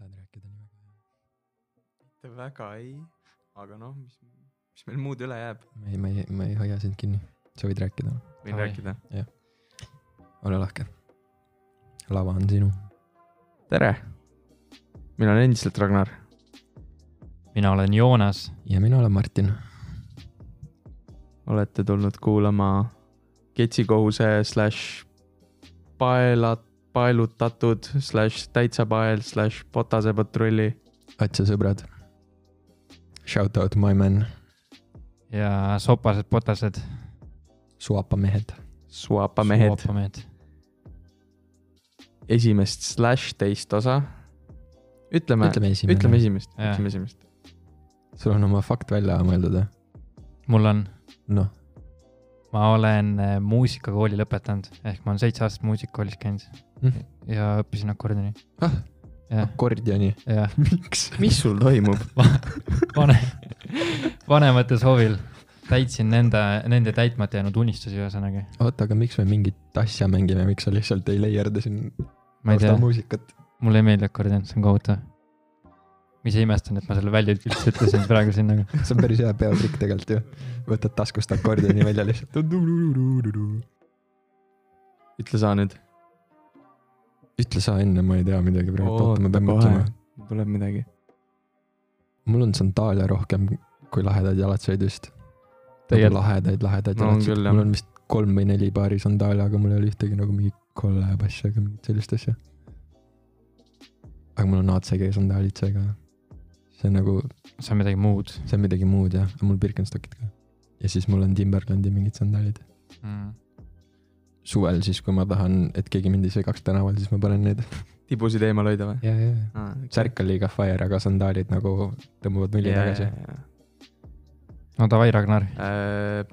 rääkida nii väga jah . mitte väga ei , aga noh , mis , mis meil muud üle jääb , ma ei , ma ei , ma ei hoia sind kinni , sa võid rääkida , võin Davai. rääkida . ole lahke . lava on sinu . tere , mina olen endiselt Ragnar . mina olen Joonas , ja mina olen Martin . olete tulnud kuulama Ketsikohuse slaš paelad , paelutatud slaš täitsa pael slaš potase patrulli . otse sõbrad . Shout out my man , ja sopased potased . suapa mehed . Suapa mehed , mehed . esimest slaš teist osa . ütleme , ütleme esimene . ütleme esimest , Jah. ütleme esimest . sul on oma fakt välja mõeldud või ? mul on , noh , ma olen äh, muusikakooli lõpetanud , ehk ma olen seitse aastat muusikakoolis käinud Mhm. ja õppisin akordioni . Ah. jah , akordioni . jah , miks ? mis sul toimub ? vanemate soovil täitsin nende , nende täitmata jäänud unistusi , ühesõnaga . oota , aga miks me mingit asja mängime , miks sa lihtsalt ei layerda siin ma ei tea , taustamuusikat ? mulle ei meeldi akordion , see on kohutav . ma ise imestan , et ma selle välja üldse ütlesin praegu siin nagu . see on päris hea peotrikk tegelikult ju . võtad taskust akordioni välja lihtsalt . ütle sa nüüd , ütle sa enne , ma ei tea midagi praegu , oota , ma Oota, pean kohe. mõtlema . tuleb midagi . mul on sandaale rohkem kui lahedaid jalatsaid vist . Tegelikult- lahedaid , lahedaid No on küll, jah. mul on vist kolm või neli paari sandaali , aga mul ei ole ühtegi nagu mingit kollab asja ega mingit sellist asja . aga mul on ACG sandaalid seega . see on nagu , see on midagi muud see on midagi muud jah , mul Birkenstockid ka . ja siis mul on Timberlandi mingid sandaalid . mm. . suvel siis , kui ma tahan , et keegi mind ei segaks tänaval , siis ma panen need . tibusid eemal hoida või ? ja , ja , ja . Ah, särk on liiga fire , aga sandaalid nagu tõmbavad mulje tagasi . no davai , Ragnar , Äh,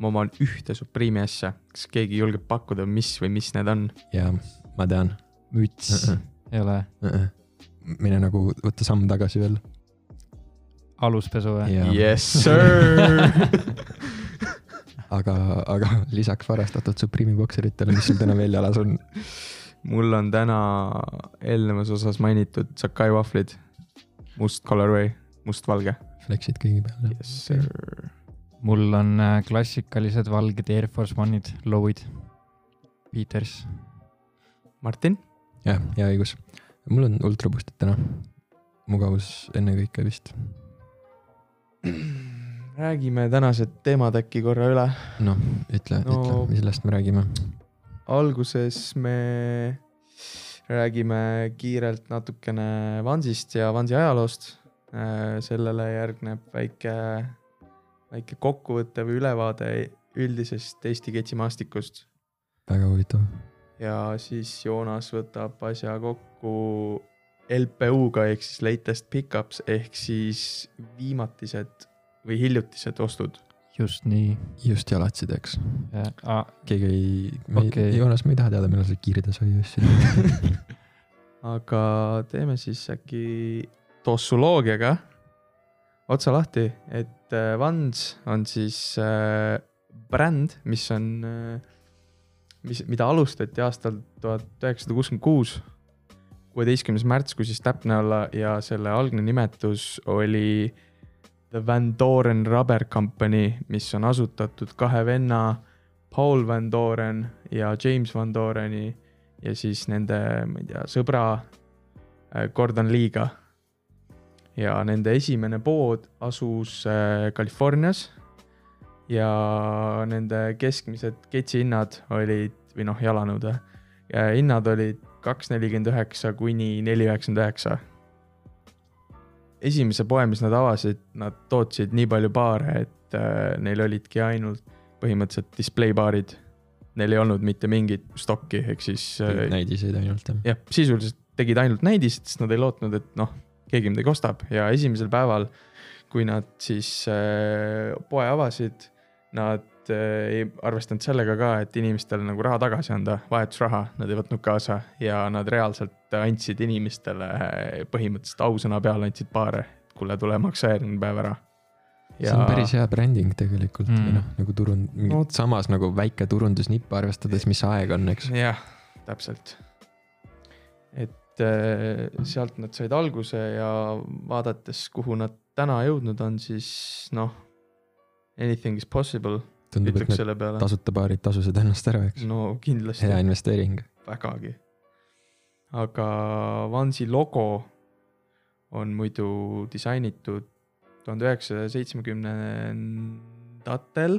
ma oman ühte Supreme'i asja , kas keegi julgeb pakkuda , mis või mis need on ? ja ma tean müts Mm-mm. ei ole Äh-äh. Äh, mine nagu võta samm tagasi veel . aluspesu või ? Yes sir aga , aga lisaks varastatud Supreme'i bokseritele , mis sul täna veel jalas on , mul on täna eelnevas osas mainitud Sakai vahvlid , must colorway , mustvalge . läksid kõigi peale . Yes sir . mul on äh, klassikalised valged Air Force One'id , low'id , Peters . Martin , jah , hea õigus . mul on ultraboostid täna . mugavus ennekõike vist . räägime tänased teemad äkki korra üle . noh , ütle no. , ütle No. , millest me räägime . alguses me räägime kiirelt natukene Vansist ja Vansi ajaloost . sellele järgneb väike , väike kokkuvõte või ülevaade üldisest Eesti ketsimaastikust väga huvitav . ja siis Joonas võtab asja kokku LPU-ga ehk siis latest pickups ehk siis viimatised või hiljutised ostud . just nii . just jalatsid , eks . aga keegi ei , me okay. Okei. ei , Joonas , me ei taha teada , millal sa kiirida sai asju . aga teeme siis äkki tossuloogiaga otsa lahti , et äh, Vans on siis äh, bränd , mis on , mis , mida alustati aastal tuhat üheksasada kuuskümmend kuus , kuueteistkümnes märts , kui siis täpne olla ja selle algne nimetus oli The Van Doren Rubber Company , mis on asutatud kahe venna , Paul Van Doren ja James Van Doreni ja siis nende , ma ei tea , sõbra äh, Gordon Lee'ga . ja nende esimene pood asus äh, Californias ja nende keskmised ketsihinnad olid , või noh , jalanõude ja hinnad olid kaks nelikümmend üheksa kuni neli üheksakümmend üheksa . esimese poe , mis nad avasid , nad tootsid nii palju paare , et äh, neil olidki ainult põhimõtteliselt display baarid . Neil ei olnud mitte mingit stokki , ehk siis äh, näidiseid ainult jah . jah , sisuliselt tegid ainult näidised , sest nad ei lootnud , et noh , keegi midagi ostab ja esimesel päeval , kui nad siis äh, poe avasid , nad äh, ei arvestanud sellega ka , et inimestele nagu raha tagasi anda , vahetusraha nad ei võtnud kaasa ja nad reaalselt andsid inimestele äh, põhimõtteliselt ausõna peale andsid paare , kuule , tule maksa järgmine päev ära . see on päris hea branding tegelikult mm. Mm. või noh , nagu turund- , No- no. samas nagu väike turundusnipp , arvestades , mis aeg on , eks . jah , täpselt . et et äh, sealt nad said alguse ja vaadates , kuhu nad täna jõudnud on , siis noh , anything is possible , tundub , et ütleks need selle Mm. peale . tasuta baarid tasusid ennast ära , eks . no kindlasti hea investeering . vägagi . aga Vansi logo on muidu disainitud tuhande üheksasaja seitsmekümnendatel .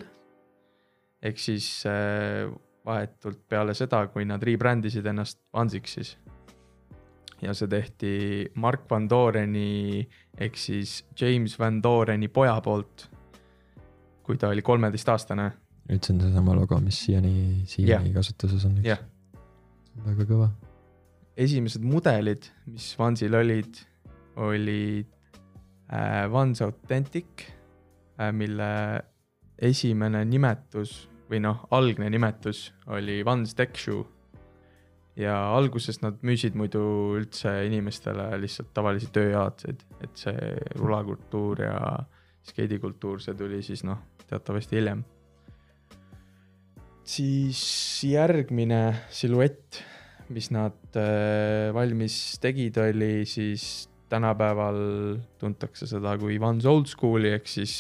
ehk siis eh, vahetult peale seda , kui nad rebrandisid ennast Vansiks siis . ja see tehti Mark Van Doreni ehk siis James Van Doreni poja poolt , kui ta oli kolmeteistaastane nüüd see on seesama logo , mis siiani , siiani Jah. yeah. kasutuses on , eks Jah. väga kõva . esimesed mudelid , mis Vansil olid , olid äh, Vans Authentic äh, , mille esimene nimetus või noh , algne nimetus oli Vans Tech Shoe . ja alguses nad müüsid muidu üldse inimestele lihtsalt tavalisi tööjaatseid , et see rulakultuur ja skeidikultuur , see tuli siis noh , teatavasti hiljem . siis järgmine siluett mis nad äh, valmis tegid , oli siis tänapäeval tuntakse seda kui Vans Old School'i ehk siis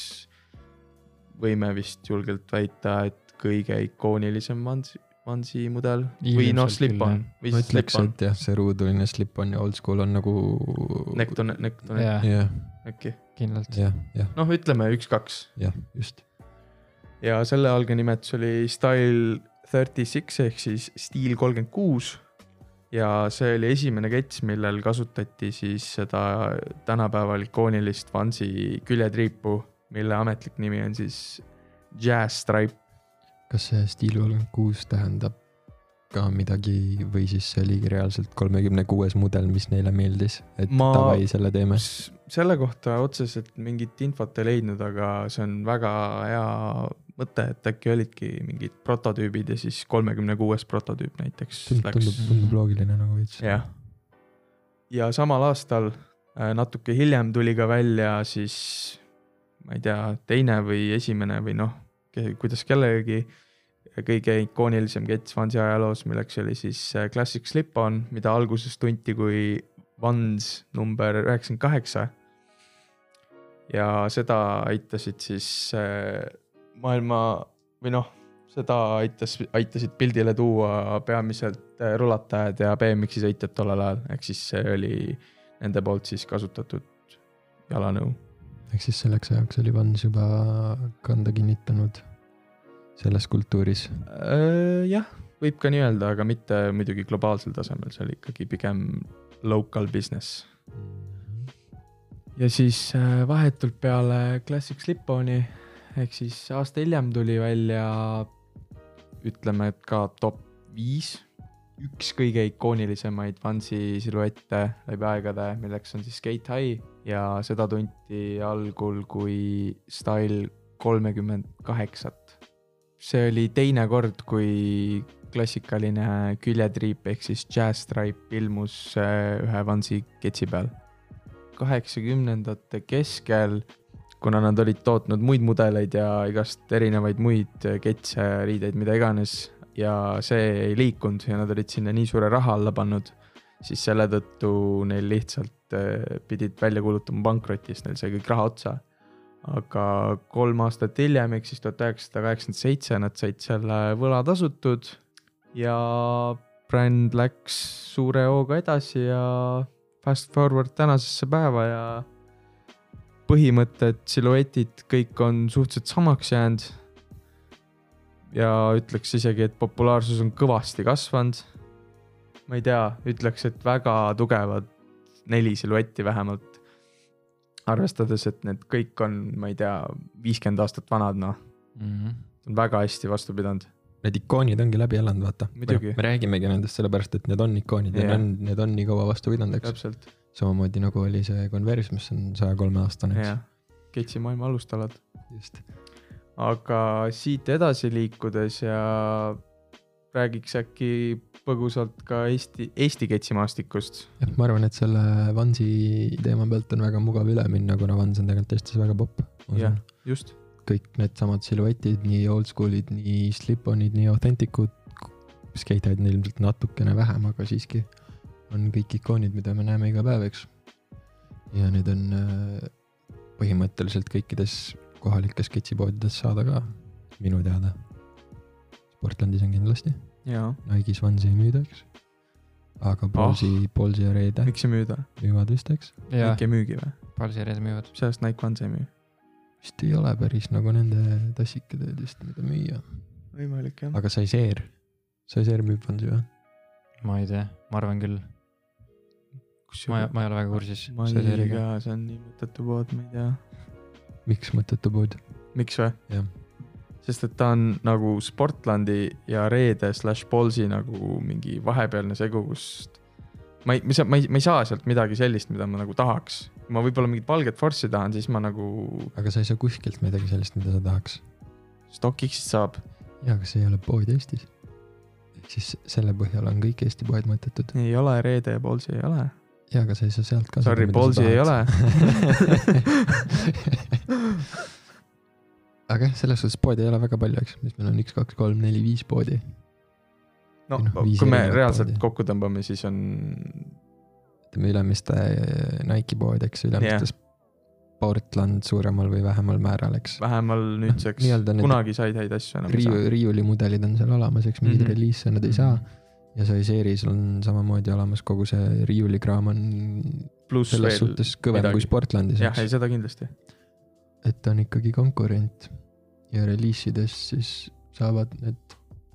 võime vist julgelt väita , et kõige ikoonilisem Vans , Vansi mudel või noh , Ilmselt slip-on või ma siis ütleks , slip-on , et jah , see ruuduline slip-on ja oldschool on nagu . Necton , Necton jah , jah , äkki , kindlalt . jah , jah , noh , ütleme üks-kaks jah , just . ja selle algne nimetus oli Style thirty six ehk siis stiil kolmkümmend kuus . ja see oli esimene kets , millel kasutati siis seda tänapäeval ikoonilist Vansi küljetriipu , mille ametlik nimi on siis Jazz Stripe . kas see stiilvalgend kuus tähendab ka midagi või siis see oligi reaalselt kolmekümne kuues mudel , mis neile meeldis , et Ma- ma... davai , selle teeme . selle kohta otseselt mingit infot ei leidnud , aga see on väga hea mõte , et äkki olidki mingid prototüübid ja siis kolmekümne kuues prototüüp näiteks tundub , läks Mhm. tundub , tundub loogiline nagu veits . jah . ja samal aastal äh, natuke hiljem tuli ka välja siis , ma ei tea , teine või esimene või noh , kuidas kellelegi , kõige ikoonilisem kets Vansi ajaloos , milleks oli siis äh, Classic Slip-on , mida alguses tunti kui Vans number üheksakümmend kaheksa . ja seda aitasid siis äh, maailma või noh , seda aitas , aitasid pildile tuua peamiselt äh, rulatajad ja BMX-i sõitjad tollel ajal , ehk siis see oli nende poolt siis kasutatud jalanõu . ehk siis selleks ajaks oli Vans juba kanda kinnitanud selles kultuuris . Äh, jah , võib ka nii öelda , aga mitte muidugi globaalsel tasemel , see oli ikkagi pigem local business . ja siis äh, vahetult peale Classic Slip-on'i ehk siis aasta hiljem tuli välja ütleme , et ka top viis , üks kõige ikoonilisemaid Vansi siluette läbi aegade , milleks on siis Skate High ja seda tunti algul kui Style kolmekümmend kaheksat . see oli teine kord , kui klassikaline küljetriip ehk siis jazz stripe ilmus äh, ühe Vansi ketsi peal . kaheksakümnendate keskel , kuna nad olid tootnud muid mudeleid ja igast erinevaid muid äh, ketse , riideid , mida iganes ja see ei liikunud ja nad olid sinna nii suure raha alla pannud , siis selle tõttu neil lihtsalt äh, pidid välja kuulutama pankroti , sest neil sai kõik raha otsa . aga kolm aastat hiljem ehk siis tuhat üheksasada kaheksakümmend seitse nad said selle võla tasutud ja bränd läks suure hooga edasi ja fast forward tänasesse päeva ja põhimõtted , siluetid , kõik on suhteliselt samaks jäänud . ja ütleks isegi , et populaarsus on kõvasti kasvanud . ma ei tea , ütleks , et väga tugevad neli siluetti vähemalt . arvestades , et need kõik on , ma ei tea , viiskümmend aastat vanad , noh , Mhm. on väga hästi vastu pidanud . Need ikoonid ongi läbi elanud , vaata . Muidugi. me räägimegi nendest sellepärast , et need on ikoonid yeah. Jah. ja need on , need on nii kaua vastu pidanud , eks . täpselt , samamoodi nagu oli see Converse , mis on saja kolme aastane , eks jah . Ketsi maailma alustalad . yeah. . just . aga siit edasi liikudes ja räägiks äkki põgusalt ka Eesti , Eesti ketsimaastikust . jah , ma arvan , et selle Vansi teema pealt on väga mugav üle minna , kuna Vans on tegelikult Eestis väga popp . Jah. just . kõik needsamad siluetid , nii oldschool'id , nii slip-on'id , nii authentic'ud , skate'id on ilmselt natukene vähem , aga siiski . on kõik ikoonid , mida me näeme iga päev , eks . ja need on äh, põhimõtteliselt kõikides kohalikes sketšipoodides saada ka , minu teada . Sportlandis on kindlasti , jaa , Nike'i Swansi ei müüda , eks . aga Ballsi oh. , Ballsi ja Reede miks ei müüda ? müüvad vist , eks . jaa , Nike ei müügi või ? palsireed müüvad . mis ajast Nike Ones ei müü ? vist ei ole päris nagu nende tassikadel vist , mida müüa . võimalik jah . aga Sizeer , Sizeer müüb Swansi või ? ma ei tea , ma arvan küll . ma , ma ei ole väga kursis . ma ei tea , see on nii mõttetu pood , ma ei tea . miks mõttetu pood ? miks või ? jah , sest et ta on nagu Sportlandi ja Reede slaš Bolsi nagu mingi vahepealne segu , kust ma ei , ma ei , ma ei saa sealt midagi sellist , mida ma nagu tahaks . ma võib-olla mingit valget forssi tahan , siis ma nagu aga sa ei saa kuskilt midagi sellist , mida sa tahaks . Stockx'ist saab . jaa , aga see ei ole pood Eestis . ehk siis selle põhjal on kõik Eesti poed mõttetud . ei ole Reede ja Bolsi ei ole . jaa , aga sa ei saa sealt ka . Sorry , Bolsi ei ole . aga jah , selles suhtes poodi ei ole väga palju , eks , mis meil on üks , kaks , kolm , neli , viis poodi . no Noh, viis kui me erinevat reaalselt poodi. kokku tõmbame , siis on ütleme Ülemiste äh, Nike'i pood , eks , Ülemistes yeah. Portland suuremal või vähemal määral , eks . vähemal nüüdseks nii-öelda need- kunagi said häid asju enam ei saa. riiu- , riiulimudelid on seal olemas , eks , mingeid mm Mhm. -hmm. reliise nad ei saa . ja Sizeeris on samamoodi olemas kogu see riiulikraam on pluss selles veel , suhtes kõvem midagi. midagi. kui Sportlandis , jah , ei eks , seda kindlasti . et ta on ikkagi konkurent . ja reliisides siis saavad need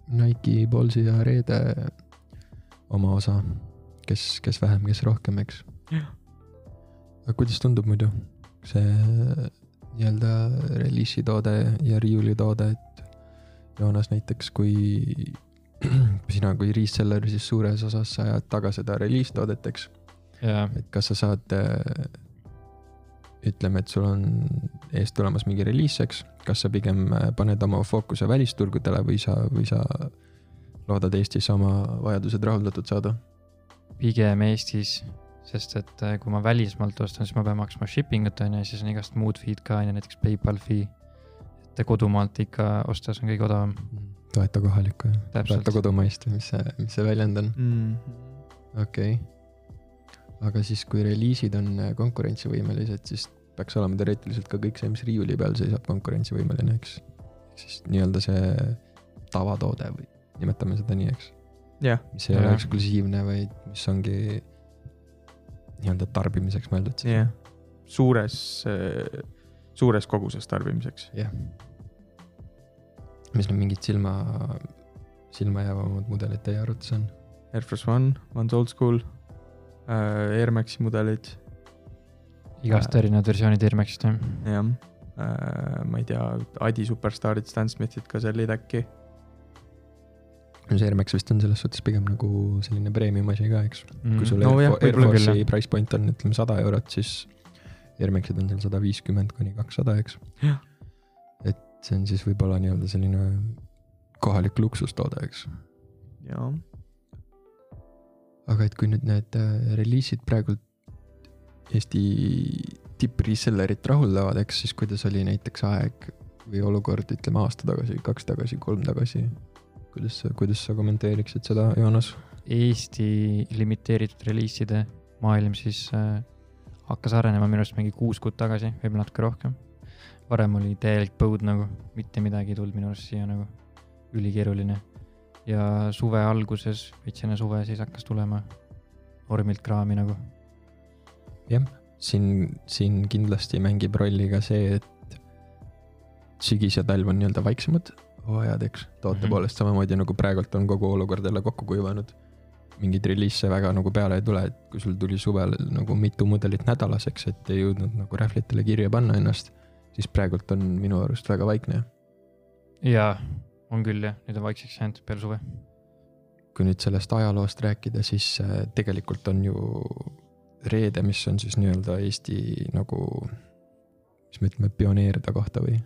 Nike , Ballsi ja Reede oma osa , kes , kes vähem , kes rohkem , eks . Jah. aga kuidas tundub muidu see nii-öelda reliisitoode ja riiulitoode , et Joonas näiteks , kui sina kui reseller siis suures osas sa ajad taga seda reliistoodet , eks . jaa , et kas sa saad , ütleme , et sul on ees tulemas mingi reliis , eks , kas sa pigem äh, paned oma fookuse välisturgudele või sa , või sa loodad Eestis oma vajadused rahuldatud saada ? pigem Eestis , sest et äh, kui ma välismaalt ostan , siis ma pean maksma shipping ut on ju , siis on igast muud fee'd ka on ju , näiteks PayPal fee . et kodumaalt ikka ostes on kõige odavam . toeta kohalikku ja täpselt toeta , kodumaist või mis see , mis see väljend on , okei okay. . aga siis , kui reliisid on äh, konkurentsivõimelised , siis peaks olema teoreetiliselt ka kõik see , mis riiuli peal seisab , konkurentsivõimeline , eks . siis nii-öelda see tavatoode või nimetame seda nii , eks . jah , mis ei ole Jah. eksklusiivne , vaid mis ongi nii-öelda tarbimiseks mõeldud siis . jah , suures , suures koguses tarbimiseks . jah . mis need mingid silma , silmajäävamad mudelid teie arvates on ? Air Force One , One's Old School , Air Maxi mudelid , igast erinevad versioonid Airmaxist jah . jah . ma ei tea , Adi superstaarid , Stan Smithid ka sellid äkki . no see Air Max vist on selles suhtes pigem nagu selline premium asi ka , eks . Mhm. kui sul No Air, jah, Fo- Air võib-olla küll, Force'i price point on , ütleme sada eurot , siis Air Maxid on seal sada viiskümmend kuni kakssada , eks . Jah. et see on siis võib-olla nii-öelda selline kohalik luksustoode , eks . jah , aga et kui nüüd need äh, reliisid praegult Eesti tippresellerit rahuldavad , eks siis kuidas oli näiteks aeg või olukord , ütleme aasta tagasi , kaks tagasi , kolm tagasi . kuidas sa , kuidas sa kommenteeriksid seda , Joonas ? Eesti limiteeritud reliiside maailm siis äh, hakkas arenema minu arust mingi kuus kuud tagasi , võib-olla natuke rohkem . varem oli täielik põud nagu , mitte midagi ei tulnud minu arust siia nagu , ülikeeruline . ja suve alguses , veits enne suve siis hakkas tulema vormilt kraami nagu , siin , siin kindlasti mängib rolli ka see , et sügis ja talv on nii-öelda vaiksemad hooajad , eks , toote mm Mhm. -hmm. poolest samamoodi nagu praegult on kogu olukord jälle kokku kuivanud . mingeid reliise väga nagu peale ei tule , et kui sul tuli suvel nagu mitu mudelit nädalas , eks , et ei jõudnud nagu rähvlitele kirja panna ennast , siis praegult on minu arust väga vaikne . jaa , on küll jah , nüüd on vaikseks jäänud peale suve . kui nüüd sellest ajaloost rääkida , siis äh, tegelikult on ju reede , mis on siis nii-öelda Eesti nagu , mis me ütleme , pioneeride kohta või ?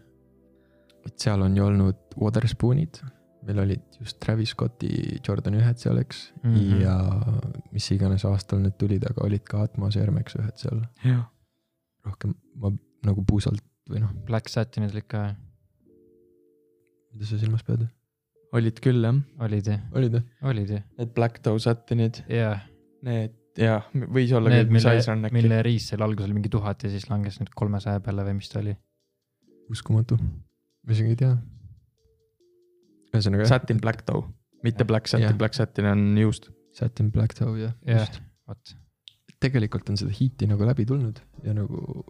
et seal on ju olnud Waterspoonid , meil olid just Travis Scotti Jordan ühed seal , eks mm , Mhm. -hmm. ja mis iganes aastal need tulid , aga olid ka Atmos ja Airmax ühed seal , jah , rohkem ma nagu puusalt või noh , Black Satinid olid ka , mida sa silmas pead , olid küll jah . olid jah , olid või ? olid jah , Need Black Toe sättinid , jaa , Need jah , võis olla Need , küll , mis mille asi see on , äkki . mille riis seal algusel mingi tuhat ja siis langes nüüd kolmesaja peale või mis ta oli . uskumatu . ma isegi ei tea . ühesõnaga jah , Satin Black Toe , mitte Black Satin Jah. yeah. , Black Satin on juust . Satin Black Toe jah jah Just. , vot . tegelikult on seda hiiti nagu läbi tulnud ja nagu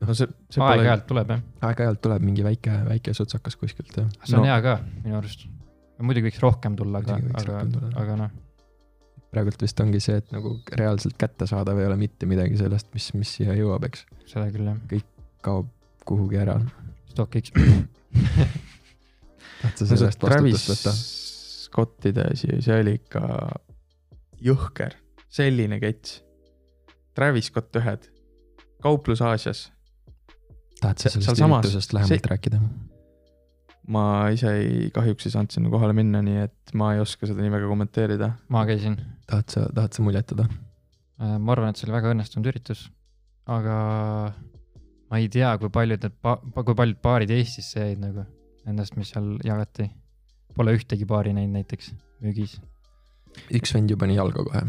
no see , see pole , aeg-ajalt tuleb jah , aeg-ajalt tuleb mingi väike , väike sotsakas kuskilt jah . see on No. hea ka minu arust . muidugi võiks rohkem tulla , aga Muidugi , võiks aga rohkem tulla. , aga noh , praegult vist ongi see , et nagu reaalselt kättesaadav ei ole mitte midagi sellest , mis , mis siia jõuab , eks . seda küll jah , kaob kuhugi ära . Stockiks . tahad sa no see selle eest Travis vastutust võtta ? Scottide asi , see oli ikka jõhker , selline kets . Travis Scott ühed , kauplus Aasias , tahad sa se- sellest sealsamas- üritusest lähemalt rääkida ? ma ise ei , kahjuks ei saanud sinna kohale minna , nii et ma ei oska seda nii väga kommenteerida . ma käisin , tahad sa , tahad sa muljetada ? ma arvan , et see oli väga õnnestunud üritus , aga ma ei tea , kui paljud need pa- , kui paljud baarid Eestisse jäid nagu nendest , mis seal jagati . Pole ühtegi baari näinud näiteks müügis . üks vend ju pani jalga kohe .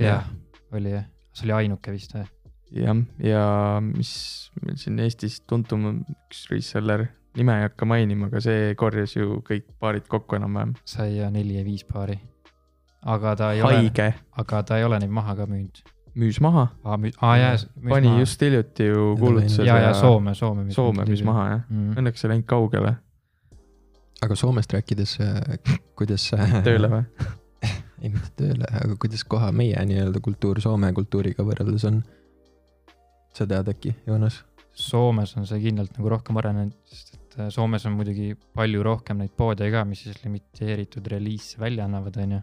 jah , oli jah , see oli ainuke vist või ? jah , ja mis meil siin Eestis tuntum on üks reseller , nime ei hakka mainima , aga see korjas ju kõik paarid kokku enam-vähem . sai ja neli ja viis paari . aga ta ei ole , haige , aga ta ei ole neid maha ka müünud . müüs maha , aa , müü- , aa jaa , pani maha. . just hiljuti ju Seda kuulutuse meile- jaa , jaa , Soome , Soome . Soome müüs maha jah , mm. . õnneks ei läinud kaugele aga Soomest rääkides , kuidas eh, tööle ? või ? ei , mitte tööle , aga kuidas koha meie nii-öelda kultuur Soome kultuuriga võrreldes on ? sa tead äkki , Joonas ? Soomes on see kindlalt nagu rohkem arenenud , sest et äh, Soomes on muidugi palju rohkem neid poode ka , mis siis limiteeritud reliise välja annavad , onju .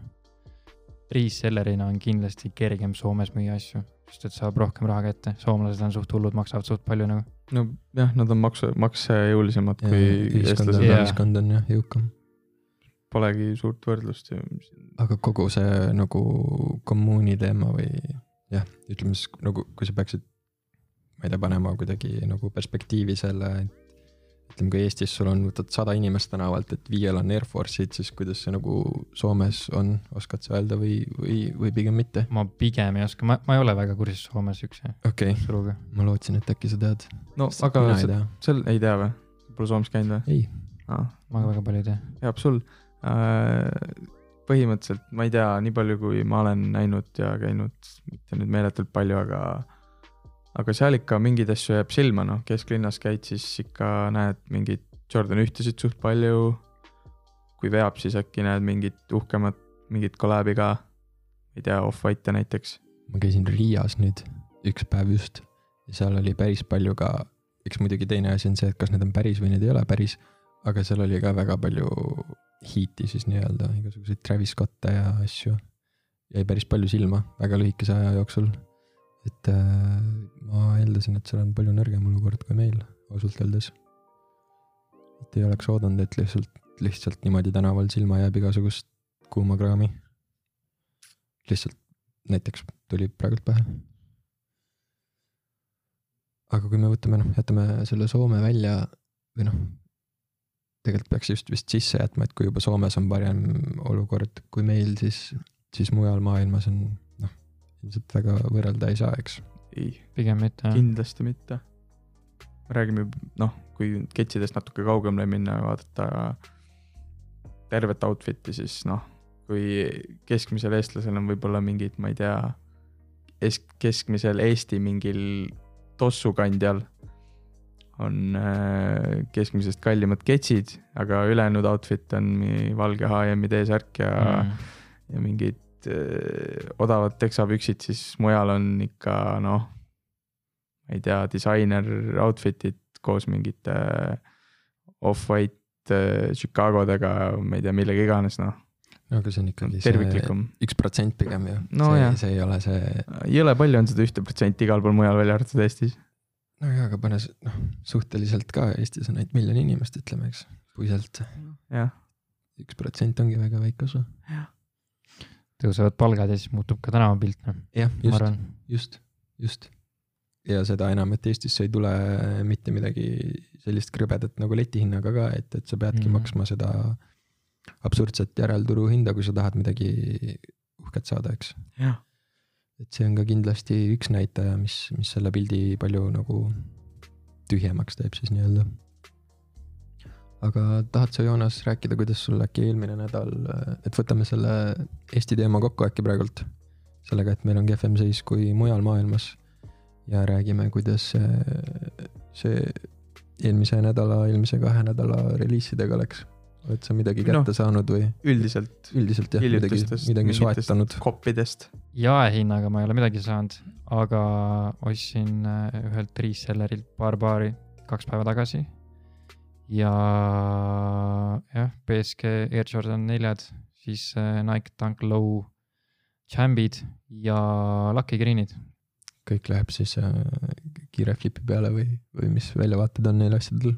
Resellerina on kindlasti kergem Soomes müüa asju , sest et saab rohkem raha kätte , soomlased on suht hullud , maksavad suht palju nagu . nojah , nad on maksu , maksejõulisemad kui ühiskond on , eestlased Jaa. yeah. , ühiskond on jah jõukam . polegi suurt võrdlust ju . aga kogu see nagu kommuuni teema või jah , ütleme siis nagu , kui sa peaksid , ma ei tea , panema kuidagi nagu perspektiivi selle , et ütleme , kui Eestis sul on , võtad sada inimest tänavalt , et viiel on Air Force'id , siis kuidas see nagu Soomes on , oskad sa öelda või , või , või pigem mitte ? ma pigem ei oska , ma , ma ei ole väga kursis Soome siukse okei okay. , suruga . ma lootsin , et äkki sa tead . no aga mina ei see, tea , seal ei tea või ? Pole Soomes käinud või ? ei , aa , ma ka väga palju ei tea . jääb sul . Äh, põhimõtteliselt ma ei tea , nii palju , kui ma olen näinud ja käinud , mitte nüüd meeletult palju , aga aga seal ikka mingeid asju jääb silma , noh , kesklinnas käid , siis ikka näed mingeid Jordan ühtesid suht palju . kui veab , siis äkki näed mingit uhkemat , mingit kollab'i ka . ei tea , Off-White'e näiteks . ma käisin Riias nüüd üks päev just ja seal oli päris palju ka , eks muidugi teine asi on see , et kas need on päris või need ei ole päris , aga seal oli ka väga palju hiiti siis nii-öelda , igasuguseid Travis Scott'e ja asju . jäi päris palju silma väga lühikese aja jooksul . et äh, ma eeldasin , et seal on palju nõrgem olukord kui meil , ausalt öeldes . et ei oleks oodanud , et lihtsalt , lihtsalt niimoodi tänaval silma jääb igasugust kuuma kraami . lihtsalt näiteks tuli praegult pähe . aga kui me võtame , noh , jätame selle Soome välja või noh , tegelikult peaks just vist sisse jätma , et kui juba Soomes on parem olukord kui meil , siis , siis mujal maailmas on noh , ilmselt väga võrrelda ei saa , eks . ei , pigem mitte . kindlasti mitte . räägime , noh , kui nüüd ketsidest natuke kaugemale minna ja vaadata tervet outfit'i , siis noh , kui keskmisel eestlasel on võib-olla mingid , ma ei tea , es- , keskmisel Eesti mingil tossukandjal on äh, keskmisest kallimad ketsid , aga ülejäänud outfit on mi- valge HM-i T-särk ja mm. , ja mingid öö, odavad teksapüksid , siis mujal on ikka noh , ma ei tea , disainer outfit'id koos mingite äh, off-white öö, Chicago dega , ma ei tea , millega iganes , noh , no aga see on ikkagi see terviklikum . üks protsent pigem ju No see jah. , see ei ole see jõle palju on seda ühte protsenti igal pool mujal , välja arvatud Eestis . no jaa , aga pane s- noh , suhteliselt ka Eestis on ainult miljon inimest , ütleme , eks . kui sealt jah , üks protsent ongi väga väike osa . tõusevad palgad ja siis muutub ka tänavapilt , noh , jah , ma just . arvan . just , just . ja seda enam , et Eestisse ei tule mitte midagi sellist krõbedat nagu letihinnaga ka , et , et sa peadki Mhm. mm. maksma seda absurdset järelturuhinda , kui sa tahad midagi uhket saada , eks . jah , et see on ka kindlasti üks näitaja , mis , mis selle pildi palju nagu tühjemaks teeb siis nii-öelda . aga tahad sa , Joonas , rääkida , kuidas sul äkki eelmine nädal , et võtame selle Eesti teema kokku äkki praegult , sellega , et meil on kehvem seis kui mujal maailmas ja räägime , kuidas see, see eelmise nädala , eelmise kahe nädala reliisidega läks . oled sa midagi kätte no. saanud või üldiselt üldiselt jah , midagi , Hiljutistest midagi mingitest- soetanud ? koppidest . jaehinnaga ma ei ole midagi saanud , aga ostsin äh, ühelt riistsellerilt paar paari kaks päeva tagasi . ja jah , BSG Air Jordan neljad , siis äh, Nike Dunk Low Chambid ja Lucky Greenid . kõik läheb siis äh, kiire flipi peale või , või mis väljavaated on neil asjadel ?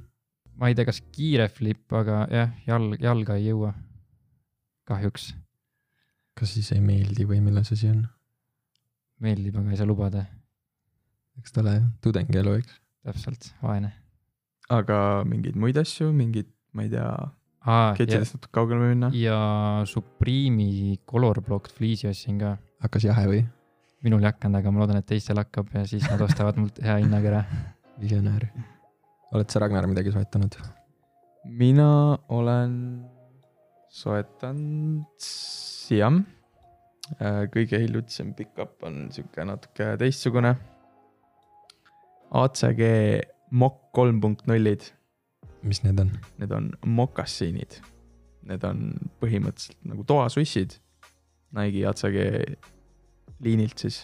ma ei tea , kas kiire flip , aga jah , jalg , jalga ei jõua . kahjuks kas siis ei meeldi või milles asi on ? meeldib , aga ei saa lubada , eks ta ole jah, tudengielu , eks . täpselt , vaene . aga mingeid muid asju , mingeid , ma ei tea , ja, kettidest natuke kaugemale minna . ja Supreme'i Color Blocked fliisi ostsin ka hakkas jahe või ? minul ei hakanud , aga ma loodan , et teistel hakkab ja siis nad ostavad mult hea hinnaga ära . visionäär . oled sa , Ragnar , midagi soetanud ? mina olen soetanud Siam . kõige hiljutisem pickup on sihuke natuke teistsugune . ACG Mokk kolm punkt nullid , mis need on ? need on mokassiinid . Need on põhimõtteliselt nagu toasussid . Nike'i ACG liinilt siis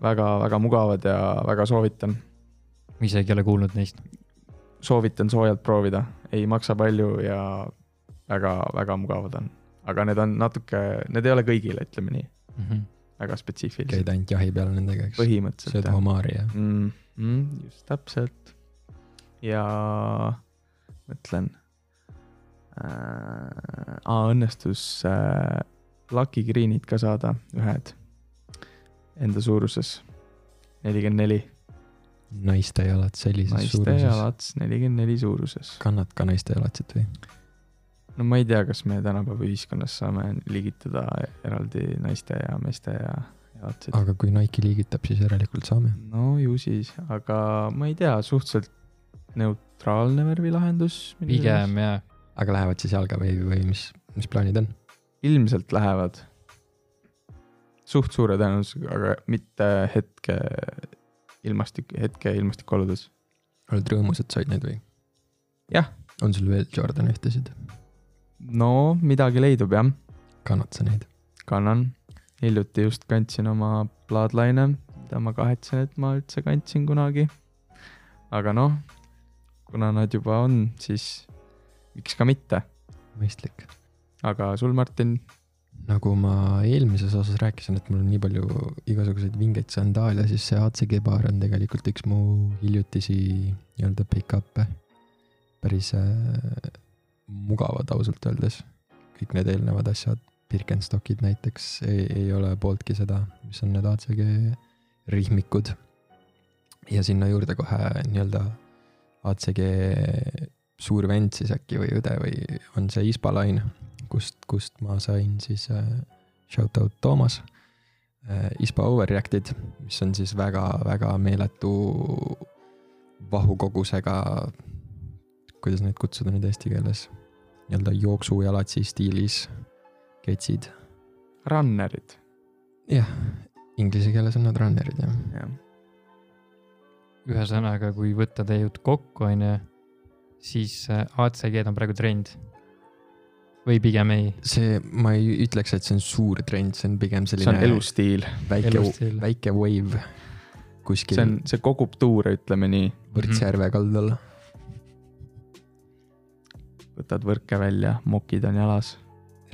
väga, . väga-väga mugavad ja väga soovitan . ma isegi ei ole kuulnud neist . soovitan soojalt proovida , ei maksa palju ja väga-väga mugavad on . aga need on natuke , need ei ole kõigile , ütleme nii , Mhm. väga spetsiifilised käid ainult jahi peal nendega , eks ? põhimõtteliselt sööd jah homaari ja mm, . Mm, just täpselt . ja mõtlen äh, . õnnestus äh, Lucky Greenid ka saada , ühed enda suuruses nelikümmend neli , naiste jalad sellises naiste naiste suuruses jalad. . jalats nelikümmend neli suuruses . kannad ka naiste jalatsit või ? no ma ei tea , kas me tänapäeva ühiskonnas saame liigitada eraldi naiste ja meeste ja jalatsid . aga kui Nike liigitab , siis järelikult saame . no ju siis , aga ma ei tea , suhteliselt neutraalne värvilahendus . pigem jaa , aga lähevad siis jalga või , või mis , mis plaanid on ? ilmselt lähevad . suht suure tõenäosusega , aga mitte hetke ilmastik , hetke ilmastikuoludes . oled rõõmus , et said neid või ? Jah. . on sul veel Jordan ühtesid ? no midagi leidub jah , kannad sa neid ? kannan . hiljuti just kandsin oma Bloodline'e , mida ma kahetsen , et ma üldse kandsin kunagi . aga noh , kuna nad juba on , siis miks ka mitte . mõistlik . aga sul , Martin , nagu ma eelmises osas rääkisin , et mul on nii palju igasuguseid vingeid sandaale , siis see ACG baar on tegelikult üks mu hiljutisi nii-öelda pick-up'e . päris äh, mugavad ausalt öeldes . kõik need eelnevad asjad , Birkenstockid näiteks ei, ei ole pooltki seda , mis on need ACG rihmikud . ja sinna juurde kohe nii-öelda ACG suur vend siis äkki või õde või on see ISPA laine kust , kust ma sain siis äh, shout out Toomas äh, . ISPA overreact'id , mis on siis väga-väga meeletu vahukogusega , kuidas neid kutsuda nüüd eesti keeles , nii-öelda jooksujalatsi stiilis ketsid . runner'id , jah , inglise keeles on nad runner'id jah . jah . ühesõnaga , kui võtta teie jutt kokku , on ju , siis äh, ACG-d on praegu trend . või pigem ei . see , ma ei ütleks , et see on suur trend , see on pigem see on selline elustiil , väike , elustiil. väike wave kuskil see on , Mhm. see kogub tuure , ütleme nii . Võrtsjärve kaldal . võtad võrke välja , mokid on jalas ,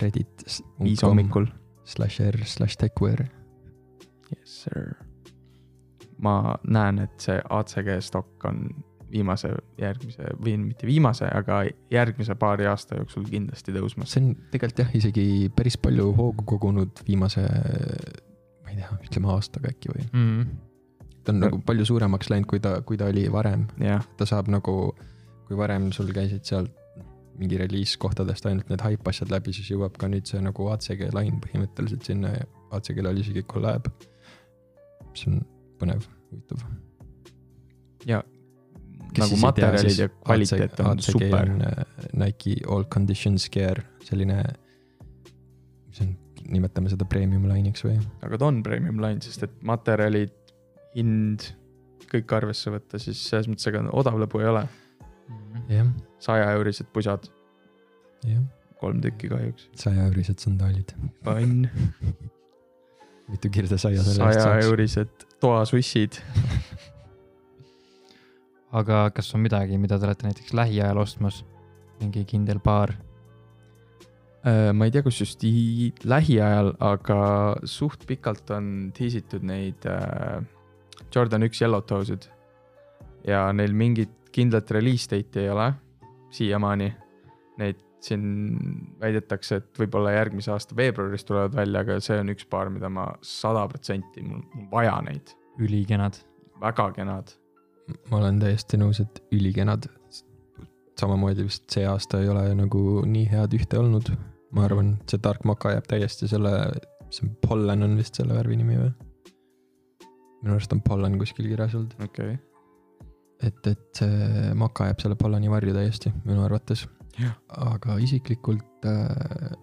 Reddit . viis hommikul . slash R slash Techwear . Yes sir . ma näen , et see ACG stokk on viimase , järgmise või mitte viimase , aga järgmise paari aasta jooksul kindlasti tõusmas . see on tegelikult jah , isegi päris palju hoogu kogunud viimase , ma ei tea , ütleme aastaga äkki või . Mhm. ta on No. nagu palju suuremaks läinud , kui ta , kui ta oli varem . jah , ta saab nagu , kui varem sul käisid sealt mingi reliis kohtadest ainult need hype asjad läbi , siis jõuab ka nüüd see nagu ACG lain põhimõtteliselt sinna AC kellel oli isegi kolläb , mis on põnev , huvitav . nagu materjalid ja kvaliteet on super . Nike All Conditions Gear , selline , mis on , nimetame seda premium line'iks või ? aga ta on premium line , sest et materjalid , hind , kõik arvesse võtta , siis selles mõttes ega odav lõbu ei ole . Mhm. jah , saja eurised pusad , jah , kolm tükki kahjuks . sajaeurised sandaalid , pann , mitu kirde saia selle eest saja saaks . eurised toasussid . aga kas on midagi , mida te olete näiteks lähiajal ostmas ? mingi kindel paar ? Äh, ma ei tea , kas just i- lähiajal , aga suht pikalt on tiisitud neid äh, Jordan üks Yellow Toes'id . ja neil mingit kindlat release date'i ei ole siiamaani . Neid siin väidetakse , et võib-olla järgmise aasta veebruaris tulevad välja , aga see on üks paar , mida ma sada protsenti , mul mul vaja neid , ülikenad . väga kenad . ma olen täiesti nõus , et ülikenad . samamoodi vist see aasta ei ole nagu nii head ühte olnud . ma arvan , see tark moka jääb täiesti selle , see on pollen on vist selle värvi nimi või ? minu arust on pollen kuskil kirjas olnud , okei okay. , et , et see moka jääb selle polleni varju täiesti minu arvates . Jah. aga isiklikult äh,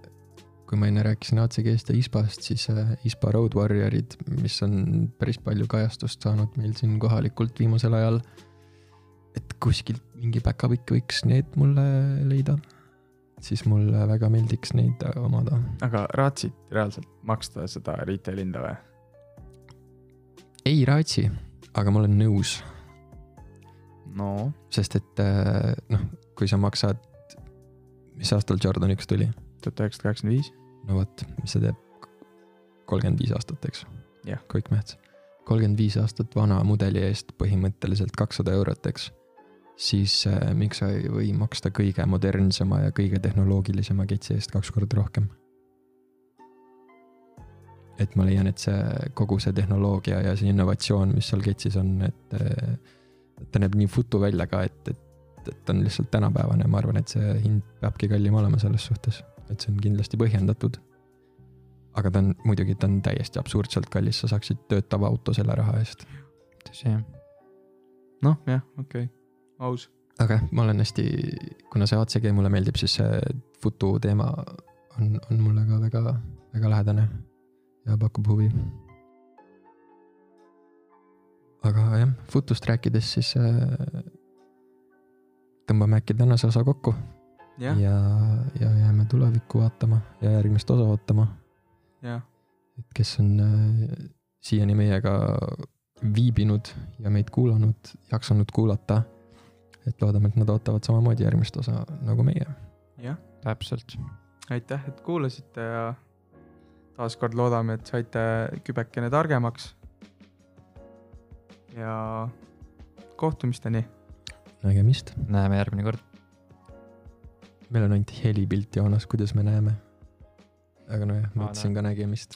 kui ma enne rääkisin ACG-st ja ISPA-st , siis äh, ISPA Road Warriorid , mis on päris palju kajastust saanud meil siin kohalikult viimasel ajal . et kuskilt mingi päkapikk võiks need mulle leida , siis mulle väga meeldiks neid äh, omada . aga raatsid reaalselt maksta seda retail hinda või ? ei raatsi , aga ma olen nõus , no sest et äh, noh , kui sa maksad , mis aastal Jordan üks tuli , tuhat üheksasada kaheksakümmend viis . no vot , mis see teeb , kolmkümmend viis aastat , eks Jah. . kõik mehts , kolmkümmend viis aastat vana mudeli eest põhimõtteliselt kakssada eurot , eks . siis äh, miks sa ei või maksta kõige modernsema ja kõige tehnoloogilisema ketsi eest kaks korda rohkem ? et ma leian , et see kogu see tehnoloogia ja see innovatsioon , mis seal ketsis on , et äh, et ta näeb nii futu välja ka , et , et , et ta on lihtsalt tänapäevane , ma arvan , et see hind peabki kallim olema selles suhtes , et see on kindlasti põhjendatud . aga ta on muidugi , ta on täiesti absurdselt kallis , sa saaksid töötava auto selle raha eest . tõsi jah . noh , jah , okei okay. , aus . aga jah , ma olen hästi , kuna see ACG mulle meeldib , siis see futu teema on , on mulle ka väga , väga lähedane ja pakub huvi . aga jah , futust rääkides , siis äh, tõmbame äkki tänase osa kokku . jah , ja , ja jääme tulevikku vaatama ja järgmist osa ootama , jah , et kes on äh, siiani meiega viibinud ja meid kuulanud , jaksanud kuulata . et loodame , et nad ootavad samamoodi järgmist osa nagu meie . jah , täpselt . aitäh , et kuulasite ja taaskord loodame , et saite kübekene targemaks . ja kohtumisteni . nägemist , näeme järgmine kord . meil on ainult helipilt , Joonas , kuidas me näeme . aga nojah , ma Ah. Aa, ütlesin ka nägemist .